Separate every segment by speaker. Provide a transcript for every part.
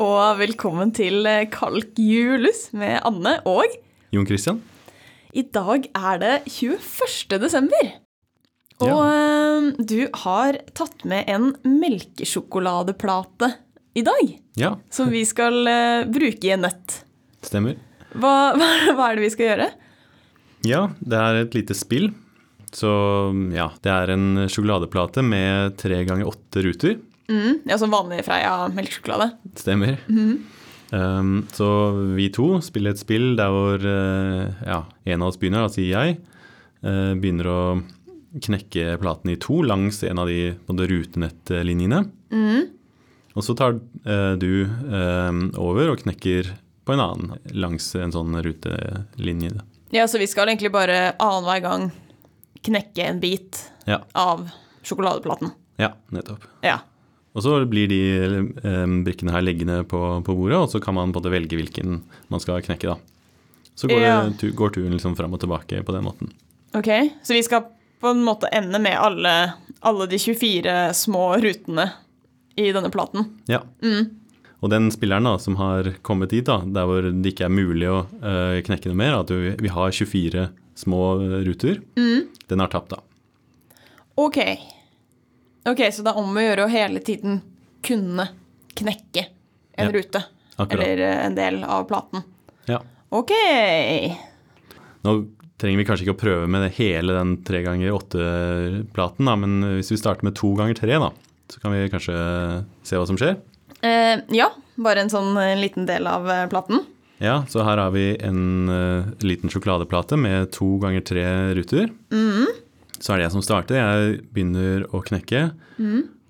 Speaker 1: og velkommen til eh, Kalk julus med Anne og
Speaker 2: Jon Christian?
Speaker 1: I dag er det 21. desember. Og
Speaker 2: Ja.
Speaker 1: eh, du har tatt med en melkesjokoladeplate i dag,
Speaker 2: Ja,
Speaker 1: som vi skal eh, bruke i en nøtt.
Speaker 2: stemmer.
Speaker 1: Hva, hva, hva er det vi skal gjøre?
Speaker 2: Ja, det er et lite spill. Så ja, det er en sjokoladeplate med tre ganger åtte ruter.
Speaker 1: Mm, ja, Som vanlig Freia melkesjokolade.
Speaker 2: Stemmer. um, så vi to spiller et spill der hvor eh, ja, en av oss begynner, da sier jeg, eh, begynner å knekke platen i to langs en av de på en måte, rutenettlinjene. Og så tar eh, du eh, over og knekker på en annen langs en sånn rutelinje. da.
Speaker 1: Ja, Så vi skal egentlig bare annenhver gang knekke en bit
Speaker 2: Ja,
Speaker 1: av sjokoladeplaten.
Speaker 2: ja nettopp.
Speaker 1: Ja.
Speaker 2: Og så blir de eh, brikkene her liggende på, på bordet, og så kan man både velge hvilken man skal knekke, da. Så går,
Speaker 1: Ja.
Speaker 2: det, tu- går turen liksom fram og tilbake på den måten.
Speaker 1: Ok, så vi skal på en måte ende med alle, alle de 24 små rutene i denne platen.
Speaker 2: Ja.
Speaker 1: Mm.
Speaker 2: Og den spilleren da, som har kommet dit, da, der hvor det ikke er mulig å eh, knekke noe mer, at du, vi har 24 små eh, ruter,
Speaker 1: Mm.
Speaker 2: den har tapt, da.
Speaker 1: Ok. Ok, så det er om å gjøre å hele tiden kunne knekke en
Speaker 2: Ja,
Speaker 1: rute.
Speaker 2: akkurat.
Speaker 1: Eller eh, en del av platen.
Speaker 2: Ja.
Speaker 1: Ok.
Speaker 2: Nå trenger vi kanskje ikke å prøve med det hele den tre ganger åtte-platen, da, men hvis vi starter med to ganger tre, da, så kan vi kanskje se hva som skjer.
Speaker 1: Eh, ja, bare en sånn eh, liten del av eh, platen.
Speaker 2: Ja, så her har vi en eh, liten sjokoladeplate med to ganger tre ruter. Så er det jeg som starter. Jeg begynner å knekke.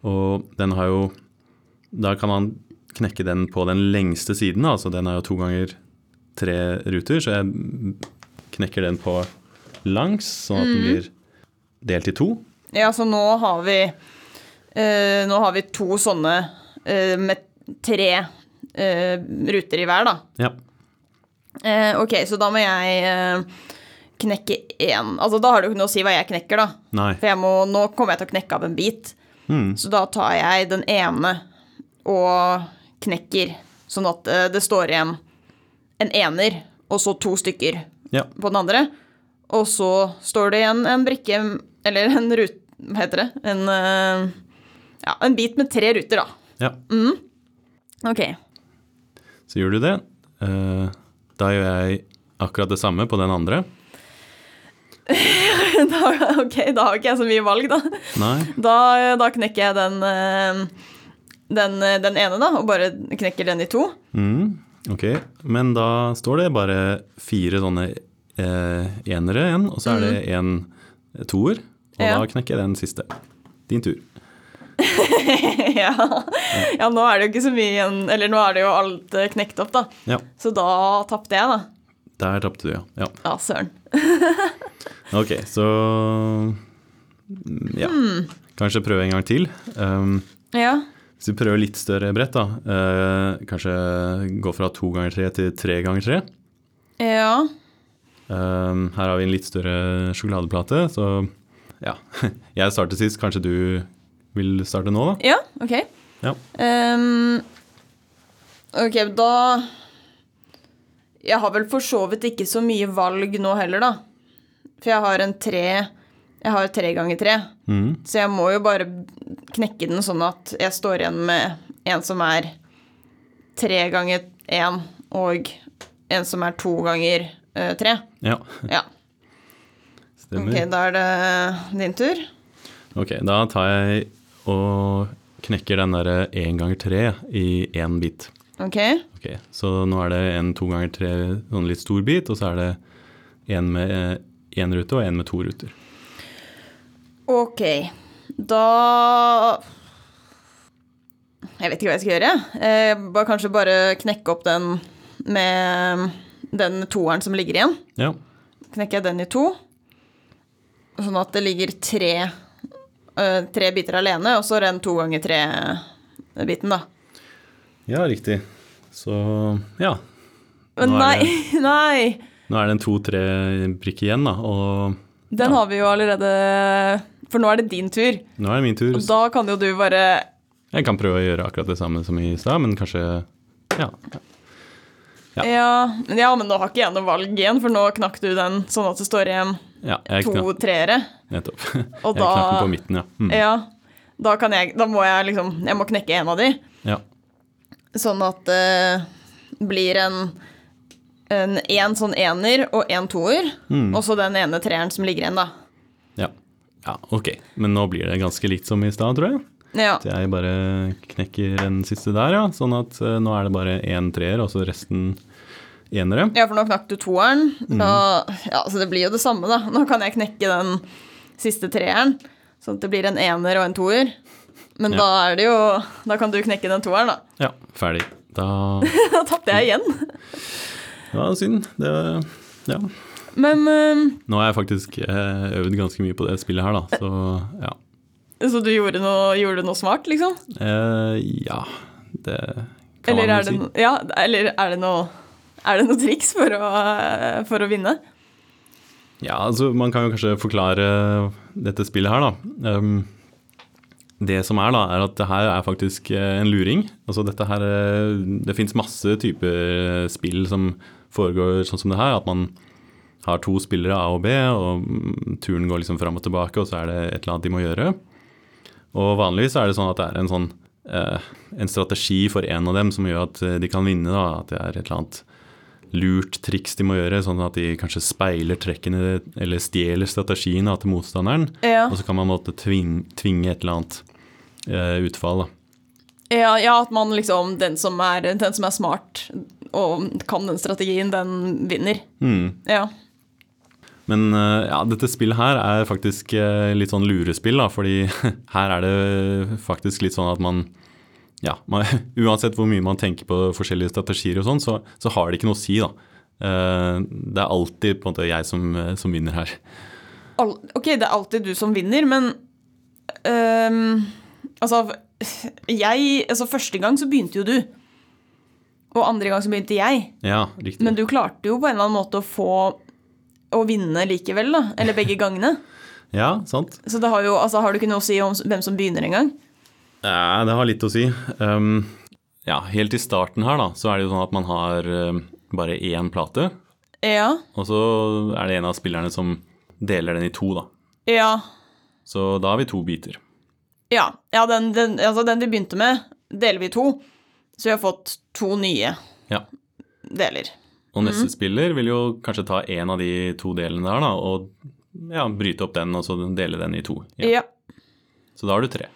Speaker 2: Og den har jo Da kan man knekke den på den lengste siden, da, så den har jo to ganger tre ruter. Så jeg knekker den på langs, sånn at den blir delt i to.
Speaker 1: Ja, så nå har vi, eh, nå har vi to sånne eh, med tre eh, ruter i hver, da.
Speaker 2: Ja.
Speaker 1: Eh, ok, så da må jeg eh, knekke én. Altså, da har det jo ikke noe å si hva jeg knekker, da.
Speaker 2: Nei.
Speaker 1: For jeg må, nå kommer jeg til å knekke av en bit.
Speaker 2: Mm.
Speaker 1: Så da tar jeg den ene og knekker, sånn at eh, det står igjen en ener og så to stykker
Speaker 2: Ja.
Speaker 1: på den andre. Og så står det igjen en brikke, eller en rute Hva heter det? En, eh, ja, en bit med tre ruter, da.
Speaker 2: ja.
Speaker 1: Ok.
Speaker 2: Så gjør du det. Eh, da gjør jeg akkurat det samme på den andre.
Speaker 1: Da, ok, da har ikke jeg så mye valg, da.
Speaker 2: Nei.
Speaker 1: Da, da knekker jeg den, eh, den, eh, den ene, da, og bare knekker den i to.
Speaker 2: Mm, ok, men da står det bare fire sånne eh, enere igjen, og så er det en eh, toer, og
Speaker 1: Ja.
Speaker 2: da knekker jeg den siste. Din tur.
Speaker 1: ja. ja, nå er det jo ikke så mye igjen. Eller nå er det jo alt eh, knekt opp, da.
Speaker 2: Ja,
Speaker 1: Så da tapte jeg, da.
Speaker 2: der tapte du, ja. ja.
Speaker 1: Ja, søren.
Speaker 2: Ok, så mm, ja. Kanskje prøve en gang til. Um,
Speaker 1: Ja.
Speaker 2: hvis vi prøver litt større brett, da, eh, kanskje gå fra to ganger tre til tre ganger tre.
Speaker 1: ja.
Speaker 2: Um, her har vi en litt større sjokoladeplate, så ja. Jeg startet sist, kanskje du vil starte nå, da?
Speaker 1: Ja, ok.
Speaker 2: Ja.
Speaker 1: Ehm, ok, da Jeg har vel for så vidt ikke så mye valg nå heller, da. For jeg har en tre Jeg har tre ganger tre.
Speaker 2: Mm.
Speaker 1: Så jeg må jo bare knekke den sånn at jeg står igjen med en som er tre ganger én, og en som er to ganger eh, tre.
Speaker 2: Ja,
Speaker 1: Ja.
Speaker 2: stemmer.
Speaker 1: Ok,
Speaker 2: Ok,
Speaker 1: da er det din tur.
Speaker 2: da, tar jeg og knekker den derre én ganger tre i én bit.
Speaker 1: Ok.
Speaker 2: Ok, Så nå er det en to ganger tre, sånn litt stor bit, og så er det en med én rute og en med to ruter.
Speaker 1: Ok. Da Jeg vet ikke hva jeg skal gjøre. jeg. Eh, bare- kanskje bare knekke opp den med den toeren som ligger igjen.
Speaker 2: Ja.
Speaker 1: knekker jeg den i to. Sånn at det ligger tre, eh, tre biter alene, og så den to ganger tre-biten, da.
Speaker 2: ja, riktig. Så ja.
Speaker 1: Men
Speaker 2: Nå er
Speaker 1: nei, nei!
Speaker 2: Nå er det en to-tre prikk igjen, da, og
Speaker 1: Den har vi jo allerede For nå er det din tur.
Speaker 2: nå er det min tur.
Speaker 1: Og da kan jo du bare
Speaker 2: Jeg kan prøve å gjøre akkurat det samme som i stad, men kanskje Ja. Ja.
Speaker 1: Ja, men- ja, men nå har ikke jeg noe valg igjen, for nå knakk du den sånn at det står igjen
Speaker 2: ja jeg
Speaker 1: to
Speaker 2: knak,
Speaker 1: treere.
Speaker 2: nettopp. Jeg
Speaker 1: Og
Speaker 2: knakk den
Speaker 1: da-
Speaker 2: på midten, ja. Mm.
Speaker 1: Ja. Da kan jeg Da må jeg liksom Jeg må knekke en av de,
Speaker 2: ja.
Speaker 1: sånn at det blir en en én sånn ener og en toer,
Speaker 2: Mm.
Speaker 1: og så den ene treeren som ligger igjen, da.
Speaker 2: Ja. ja, ok. Men nå blir det ganske likt som i stad, tror jeg.
Speaker 1: Ja.
Speaker 2: At jeg bare knekker den siste der, ja. Sånn at eh, nå er det bare én treer, og så resten enere.
Speaker 1: ja, for nå knakk du toeren.
Speaker 2: Mm.
Speaker 1: Da, ja, så det blir jo det samme, da. Nå kan jeg knekke den siste treeren, sånn at det blir en ener og en toer. Men
Speaker 2: Ja.
Speaker 1: da er det jo Da kan du knekke den toeren, da.
Speaker 2: Ja, ferdig. Da
Speaker 1: Da tapte jeg igjen.
Speaker 2: Det var synd. Det ja.
Speaker 1: Men eh,
Speaker 2: Nå har jeg faktisk eh, øvd ganske mye på det spillet her, da, så ja.
Speaker 1: Så du gjorde noe, gjorde noe smart, liksom?
Speaker 2: Eh, ja, det kan
Speaker 1: Eller
Speaker 2: man
Speaker 1: er,
Speaker 2: jo
Speaker 1: det,
Speaker 2: si.
Speaker 1: no- ja, eller er det noe Er det noe triks for å, eh, for å vinne?
Speaker 2: Ja, altså man kan jo kanskje forklare dette spillet her, da. Ehm, det som er, da, er at det her er faktisk eh, en luring. Altså dette her eh, Det fins masse typer eh, spill som foregår sånn som det her. At man har to spillere, A og B, og mm, turen går liksom fram og tilbake, og så er det et eller annet de må gjøre. Og vanligvis er det sånn at det er en sånn eh, en strategi for en av dem som gjør at eh, de kan vinne, da. At det er et eller annet lurt triks de må gjøre, sånn at de kanskje speiler trekkene eller stjeler strategien da, til motstanderen.
Speaker 1: Ja,
Speaker 2: Og så kan man på en måte tvinge, tvinge et eller annet eh, utfall. Da.
Speaker 1: ja, ja at man liksom Den som er, den som er smart og kan den strategien, den vinner.
Speaker 2: Mm.
Speaker 1: Ja.
Speaker 2: Men eh, ja, dette spillet her er faktisk eh, litt sånn lurespill, da, fordi her er det faktisk litt sånn at man Ja, man, uansett hvor mye man tenker på forskjellige strategier og sånn, så, så har det ikke noe å si, da. Eh, det er alltid på en måte jeg som, eh, som vinner her.
Speaker 1: Al ok, det er alltid du som vinner, men øhm, Altså, jeg Altså, første gang så begynte jo du. Og andre gang så begynte jeg.
Speaker 2: Ja, riktig.
Speaker 1: Men du klarte jo på en eller annen måte å få Å vinne likevel, da. Eller begge gangene.
Speaker 2: Ja, sant.
Speaker 1: Så det har jo Altså, har du ikke noe å si om s- hvem som begynner engang?
Speaker 2: Ja, det har litt å si. Um, ja, helt i starten her da, så er det jo sånn at man har um, bare én plate,
Speaker 1: Ja.
Speaker 2: og så er det en av spillerne som deler den i to da.
Speaker 1: Ja.
Speaker 2: Så da har vi to biter.
Speaker 1: Ja, ja den, den, altså den vi begynte med, deler vi i to. Så vi har fått to nye
Speaker 2: Ja.
Speaker 1: deler.
Speaker 2: Og neste spiller vil jo kanskje ta en av de to delene der da, og ja, bryte opp den og så dele den i to. igjen.
Speaker 1: Ja.
Speaker 2: Så da har du tre.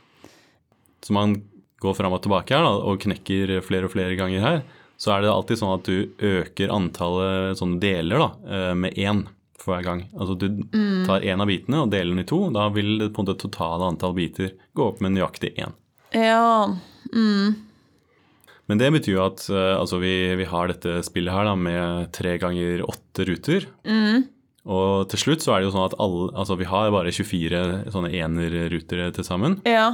Speaker 2: Så man går fram og tilbake her da, og knekker flere og flere ganger her, så er det alltid sånn at du øker antallet sånne deler da, eh, med én for hver gang. Altså du tar én av bitene og deler den i to. Da vil det på en måte totale antall biter gå opp med nøyaktig én.
Speaker 1: Ja.
Speaker 2: Men det betyr jo at eh, altså vi, vi har dette spillet her da, med tre ganger åtte ruter. Og til slutt så er det jo sånn at alle, altså vi har bare 24 sånne enerruter til sammen.
Speaker 1: Ja.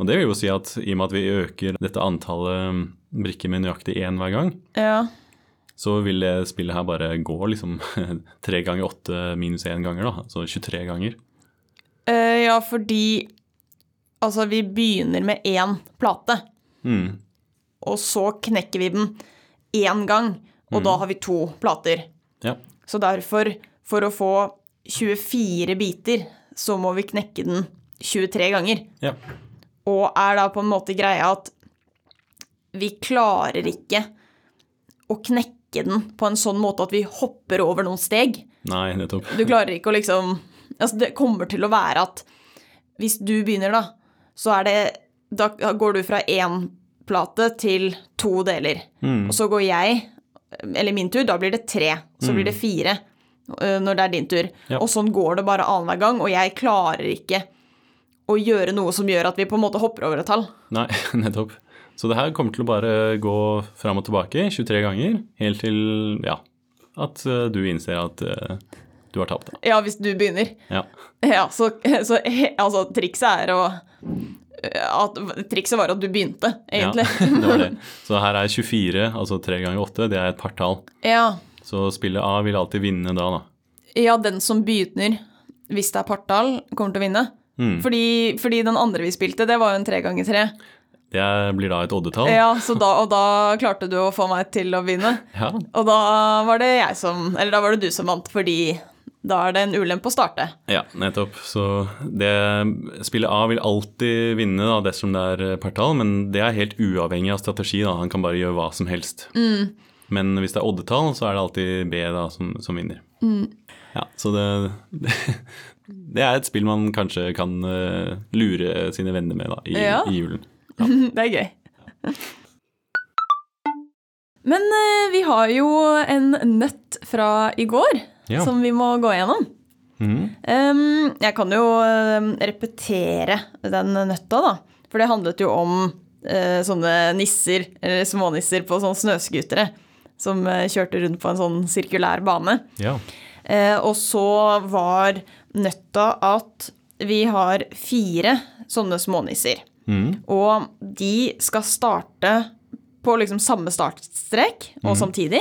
Speaker 2: Og det vil jo si at i og med at vi øker dette antallet mm, brikker med nøyaktig én hver gang,
Speaker 1: Ja.
Speaker 2: så vil det spillet her bare gå liksom tre ganger åtte minus én ganger, da. Altså 23 ganger.
Speaker 1: Eh, ja, fordi Altså, vi begynner med én plate,
Speaker 2: Mm.
Speaker 1: og så knekker vi den én gang, og da har vi to plater.
Speaker 2: Ja.
Speaker 1: Så derfor, for å få 24 biter, så må vi knekke den 23 ganger.
Speaker 2: ja.
Speaker 1: Og er da på en måte greia at vi klarer ikke å knekke den på en sånn måte at vi hopper over noen steg.
Speaker 2: Nei, nettopp.
Speaker 1: Du klarer ikke å liksom Altså, det kommer til å være at hvis du begynner, da, så er det Da går du fra én plate til to deler.
Speaker 2: Mm.
Speaker 1: Og så går jeg, eller min tur, da blir det tre. Så blir det fire øh, når det er din tur.
Speaker 2: Ja.
Speaker 1: Og sånn går det bare annenhver gang, og jeg klarer ikke å gjøre noe som gjør at vi på en måte hopper over et tall.
Speaker 2: Nei, nettopp. Så det her kommer til å bare gå fram og tilbake 23 ganger, helt til ja, at eh, du innser at eh, du har tapt. Da.
Speaker 1: Ja, hvis du begynner.
Speaker 2: Ja.
Speaker 1: Ja, så, så he- altså, trikset er å eh, at, Trikset var at du begynte, egentlig.
Speaker 2: Ja, det var det. Så her er 24, altså tre ganger åtte, det er et partall.
Speaker 1: Ja.
Speaker 2: Så spillet A vil alltid vinne da, da.
Speaker 1: ja, den som begynner, hvis det er partall, kommer til å vinne. Fordi, fordi den andre vi spilte, det var jo en tre ganger tre.
Speaker 2: Det blir da et oddetall.
Speaker 1: Ja, så da, og da klarte du å få meg til å begynne.
Speaker 2: Ja.
Speaker 1: Og da var det jeg som Eller da var det du som vant, fordi da er det en ulempe å starte.
Speaker 2: Ja, nettopp. Så det Spillet A vil alltid vinne da, dersom det er eh, partall, men det er helt uavhengig av strategi. da, Han kan bare gjøre hva som helst.
Speaker 1: Mm.
Speaker 2: Men hvis det er oddetall, så er det alltid B da, som, som vinner.
Speaker 1: Mm.
Speaker 2: Ja, så det Det er et spill man kanskje kan eh, lure sine venner med da, i,
Speaker 1: Ja.
Speaker 2: i julen.
Speaker 1: Det er gøy. Men eh, vi har jo en nøtt fra i går
Speaker 2: Ja.
Speaker 1: som vi må gå gjennom.
Speaker 2: Mhm.
Speaker 1: Ehm, jeg kan jo ehm, repetere den nøtta, da. For det handlet jo om eh, sånne nisser, eller smånisser på sånne snøskutere som eh, kjørte rundt på en sånn sirkulær bane.
Speaker 2: Ja.
Speaker 1: Eh, og så var nøtta at vi har fire sånne smånisser.
Speaker 2: Mhm.
Speaker 1: Og de skal starte på liksom samme startstrek og samtidig.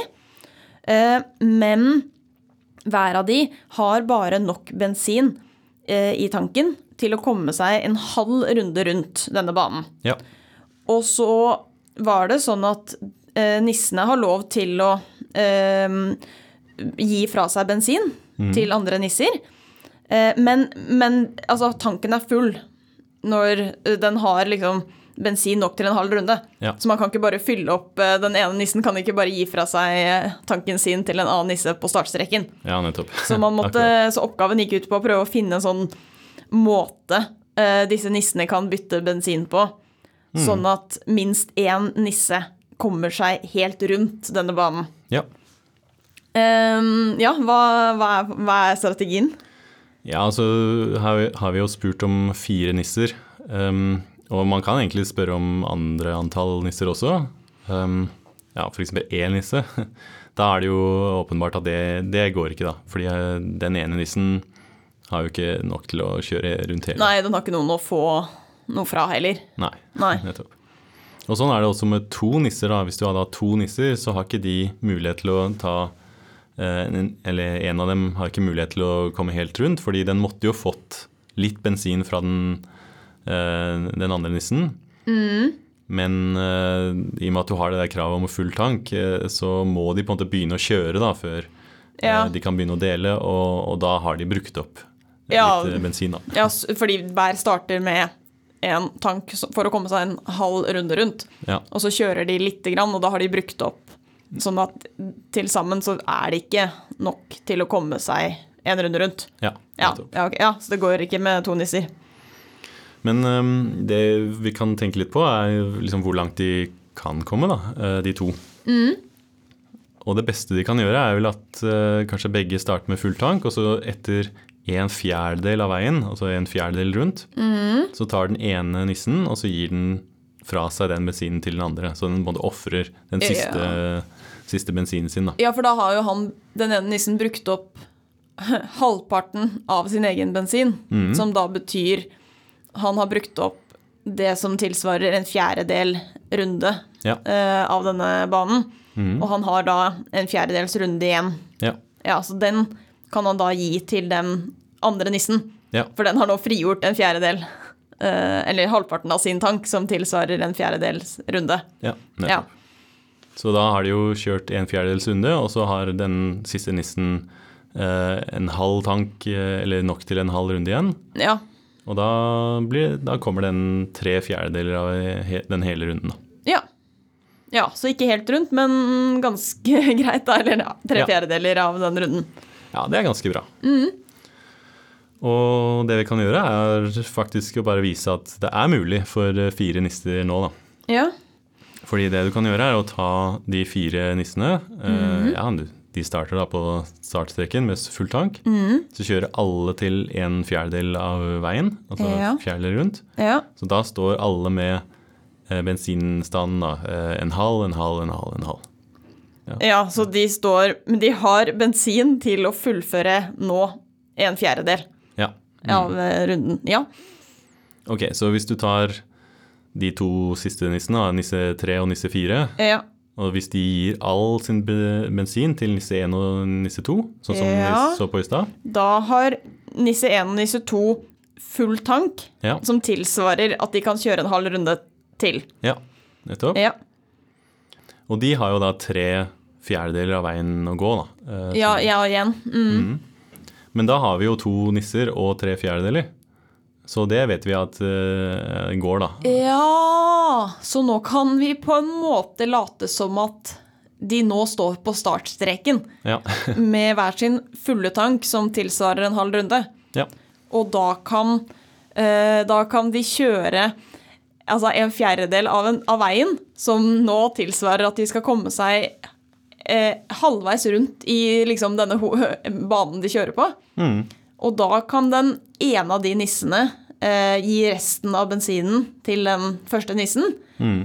Speaker 1: Eh, men hver av de har bare nok bensin eh, i tanken til å komme seg en halv runde rundt denne banen.
Speaker 2: ja.
Speaker 1: Og så var det sånn at eh, nissene har lov til å eh, gi fra seg bensin til andre nisser. Eh, men men altså, tanken er full når eh, den har liksom bensin nok til en halv runde.
Speaker 2: Ja.
Speaker 1: Så man kan ikke bare fylle opp eh, Den ene nissen kan ikke bare gi fra seg eh, tanken sin til en annen nisse på startstreken.
Speaker 2: Ja, nettopp.
Speaker 1: Så, man måtte,
Speaker 2: Akkurat.
Speaker 1: så oppgaven gikk ut på å prøve å finne en sånn måte eh, disse nissene kan bytte bensin på, sånn at minst én nisse kommer seg helt rundt denne banen.
Speaker 2: Ja.
Speaker 1: Ehm, ja, hva, hva, er, hva er strategien?
Speaker 2: Ja, altså har vi, har vi jo spurt om fire nisser. Um, og man kan egentlig spørre om andre antall nisser også. Um, ja, f.eks. én nisse. Da er det jo åpenbart at det, det går ikke, da. Fordi eh, den ene nissen har jo ikke nok til å kjøre rundt hele.
Speaker 1: Nei, den har ikke noen å få noe fra heller.
Speaker 2: Nei.
Speaker 1: Nei.
Speaker 2: Nettopp. Og sånn er det også med to nisser. da. Hvis du hadde hatt to nisser, så har ikke de mulighet til å ta eh, en- Eller en av dem har ikke mulighet til å komme helt rundt, fordi den måtte jo fått litt bensin fra den, eh, den andre nissen.
Speaker 1: Mm.
Speaker 2: Men eh, i og med at du har det der kravet om full tank, eh, så må de på en måte begynne å kjøre da, før eh,
Speaker 1: Ja.
Speaker 2: de kan begynne å dele, og, og da har de brukt opp eh,
Speaker 1: Ja.
Speaker 2: litt eh, bensin. da.
Speaker 1: Ja, s- fordi hver starter med en tank så- for å komme seg en halv runde rundt.
Speaker 2: Ja.
Speaker 1: Og så kjører de lite grann, og da har de brukt opp. Sånn at til sammen så er det ikke nok til å komme seg en runde rundt.
Speaker 2: Ja,
Speaker 1: Ja,
Speaker 2: nettopp.
Speaker 1: ja, ok, ja så det går ikke med to nisser.
Speaker 2: Men øhm, det vi kan tenke litt på, er jo liksom hvor langt de kan komme, da, øh, de to. Og det beste de kan gjøre, er vel at øh, kanskje begge starter med full tank, og så etter en fjerdedel av veien, altså en fjerdedel rundt, så tar den ene nissen, og så gir den fra seg den bensinen til den andre. Så den både ofrer den
Speaker 1: Ja.
Speaker 2: siste, siste bensinen sin, da.
Speaker 1: Ja, for da har jo han, den ene nissen, brukt opp halvparten av sin egen bensin. Som da betyr han har brukt opp det som tilsvarer en fjerdedel runde
Speaker 2: Ja.
Speaker 1: eh, av denne banen. Og han har da en fjerdedels runde igjen.
Speaker 2: Ja.
Speaker 1: Ja, så den kan han da gi til den andre nissen.
Speaker 2: ja.
Speaker 1: For den har nå frigjort en fjerdedel. eh, eller halvparten av sin tank, som tilsvarer en fjerdedels runde.
Speaker 2: ja. nettopp.
Speaker 1: Ja.
Speaker 2: Så da har de jo kjørt en fjerdedels runde, og så har den siste nissen eh, en halv tank, eh, eller nok til en halv runde igjen.
Speaker 1: ja.
Speaker 2: Og da, blir, da kommer den tre fjerdedeler av he, den hele runden. da.
Speaker 1: Ja. Ja, Så ikke helt rundt, men ganske greit, da. Eller ja, tre
Speaker 2: Ja.
Speaker 1: fjerdedeler av den runden.
Speaker 2: Ja, det er ganske bra. Og det vi kan gjøre, er faktisk å bare vise at det er mulig for eh, fire nisser nå, da.
Speaker 1: Ja.
Speaker 2: Fordi det du kan gjøre er å ta de fire nissene.
Speaker 1: Mhm.
Speaker 2: eh, ja, du- de starter da på startstreken med full tank.
Speaker 1: Mhm.
Speaker 2: Så kjører alle til en fjerdedel av veien, altså
Speaker 1: Ja.
Speaker 2: fjerdedel rundt.
Speaker 1: Ja.
Speaker 2: Så da står alle med eh, bensinstanden da. eh, en halv, en halv, en halv, en halv.
Speaker 1: ja, så de står Men de har bensin til å fullføre nå en fjerdedel
Speaker 2: Ja. Mm.
Speaker 1: av eh, runden. Ja.
Speaker 2: Ok, så hvis du tar de to siste nissene, da, nisse tre og nisse fire,
Speaker 1: Ja.
Speaker 2: og hvis de gir all sin be- bensin til nisse én og nisse to, sånn som
Speaker 1: Ja.
Speaker 2: vi så på i stad
Speaker 1: Da har nisse 1 og nisse 2 full tank,
Speaker 2: ja.
Speaker 1: som tilsvarer at de kan kjøre en halv runde til.
Speaker 2: Ja, nettopp.
Speaker 1: Ja.
Speaker 2: Og de har jo da tre fjerdedeler av veien å gå, da. Eh,
Speaker 1: Ja, ja og igjen. Mm.
Speaker 2: Men da har vi jo to nisser og tre fjerdedeler. Så det vet vi at eh, går, da.
Speaker 1: Ja Så nå kan vi på en måte late som at de nå står på startstreken
Speaker 2: Ja.
Speaker 1: med hver sin fulle tank som tilsvarer en halv runde.
Speaker 2: ja.
Speaker 1: Og da kan, eh, da kan de kjøre altså en fjerdedel av, en, av veien, som nå tilsvarer at de skal komme seg eh, halvveis rundt i liksom, denne ho banen de kjører på.
Speaker 2: Mm.
Speaker 1: Og da kan den ene av de nissene eh, gi resten av bensinen til den første nissen.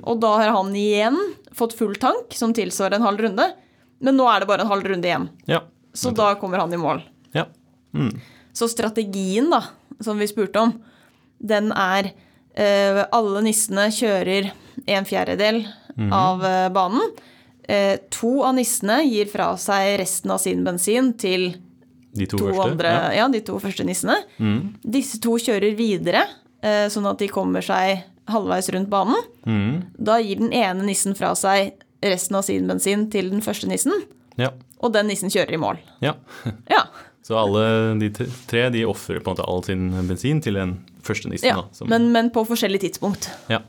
Speaker 1: Og da har han igjen fått full tank, som tilsvarer en halv runde. Men nå er det bare en halv runde igjen,
Speaker 2: Ja.
Speaker 1: så da kommer han i mål.
Speaker 2: ja. Mm.
Speaker 1: Så strategien, da, som vi spurte om, den er eh, Alle nissene kjører en fjerdedel
Speaker 2: Mhm.
Speaker 1: av eh, banen. Eh, to av nissene gir fra seg resten av sin bensin til
Speaker 2: De to,
Speaker 1: to
Speaker 2: første. Mhm.
Speaker 1: andre, ja. de to første nissene. Disse to kjører videre, eh, sånn at de kommer seg halvveis rundt banen.
Speaker 2: Ja. Mm.
Speaker 1: Da gir den ene nissen fra seg resten av sin bensin til den første nissen,
Speaker 2: ja.
Speaker 1: og den nissen kjører i mål.
Speaker 2: Ja.
Speaker 1: Ja.
Speaker 2: Så alle de t- tre de ofrer på en måte all sin bensin til den første nissen.
Speaker 1: ja.
Speaker 2: da, som-
Speaker 1: Men, Mm. men på forskjellig tidspunkt.
Speaker 2: Ja.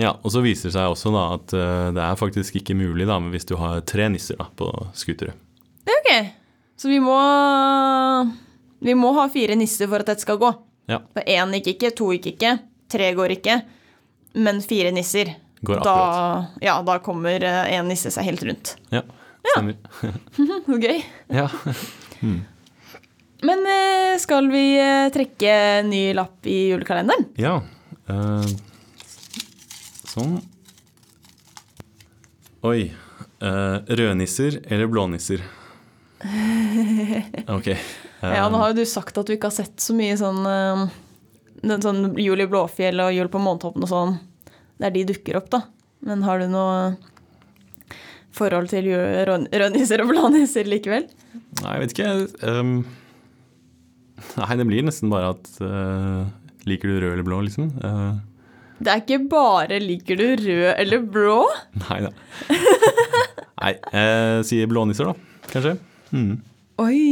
Speaker 2: ja. Og så viser det seg også da at eh, det er faktisk ikke mulig da, hvis du har tre nisser da, på skutere.
Speaker 1: Ok, så vi må Vi må ha fire nisser for at dette skal gå.
Speaker 2: Ja.
Speaker 1: For én gikk ikke, to gikk ikke, tre går ikke. Men fire nisser.
Speaker 2: Går
Speaker 1: da, ja, da kommer én nisse seg helt rundt.
Speaker 2: Ja. Stemmer.
Speaker 1: Gøy.
Speaker 2: Ja.
Speaker 1: Men eh, skal vi eh, trekke ny lapp i julekalenderen?
Speaker 2: ja. eh, sånn. Oi. eh, rødnisser eller blånisser? Ok. eh,
Speaker 1: Ja, nå har jo du sagt at du ikke har sett så mye sånn eh, den sånn Jul i Blåfjell og Jul på Månetoppen og sånn. Der de dukker opp, da. Men har du noe forhold til jul- rød- rødnisser og blånisser likevel?
Speaker 2: Nei, jeg vet ikke. ehm, nei, det blir nesten bare at eh, Liker du rød eller blå, liksom? Eh,
Speaker 1: Det er ikke bare liker du rød eller blå.
Speaker 2: nei da. nei, jeg sier blånisser, da. Kanskje. Mm.
Speaker 1: Oi.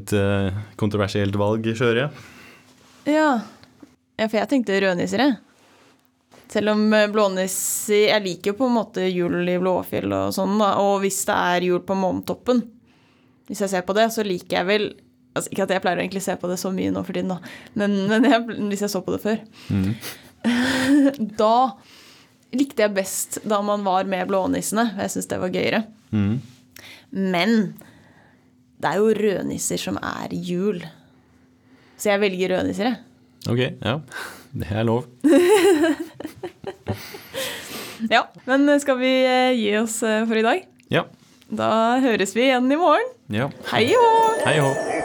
Speaker 2: Et eh, kontroversielt valg, kjører jeg.
Speaker 1: Ja. ja, for jeg tenkte rødnisser, jeg. Selv om eh, blånisser Jeg liker jo på en måte jul i Blåfjell og sånn, da. Og hvis det er jul på Månetoppen, hvis jeg ser på det, så liker jeg vel altså Ikke at jeg pleier å egentlig se på det så mye nå for tiden, da, men, men jeg, hvis jeg så på det før Da likte jeg best da man var med blånissene. Jeg syns det var gøyere.
Speaker 2: Mm.
Speaker 1: Men det er jo rødnisser som er jul. Så jeg velger rødnisser, jeg.
Speaker 2: Ok, ja. Det er lov.
Speaker 1: Ja, men skal vi eh, gi oss eh, for i dag?
Speaker 2: Ja.
Speaker 1: Da høres vi igjen i morgen.
Speaker 2: ja.
Speaker 1: Hei og hå!
Speaker 2: Hei og hå.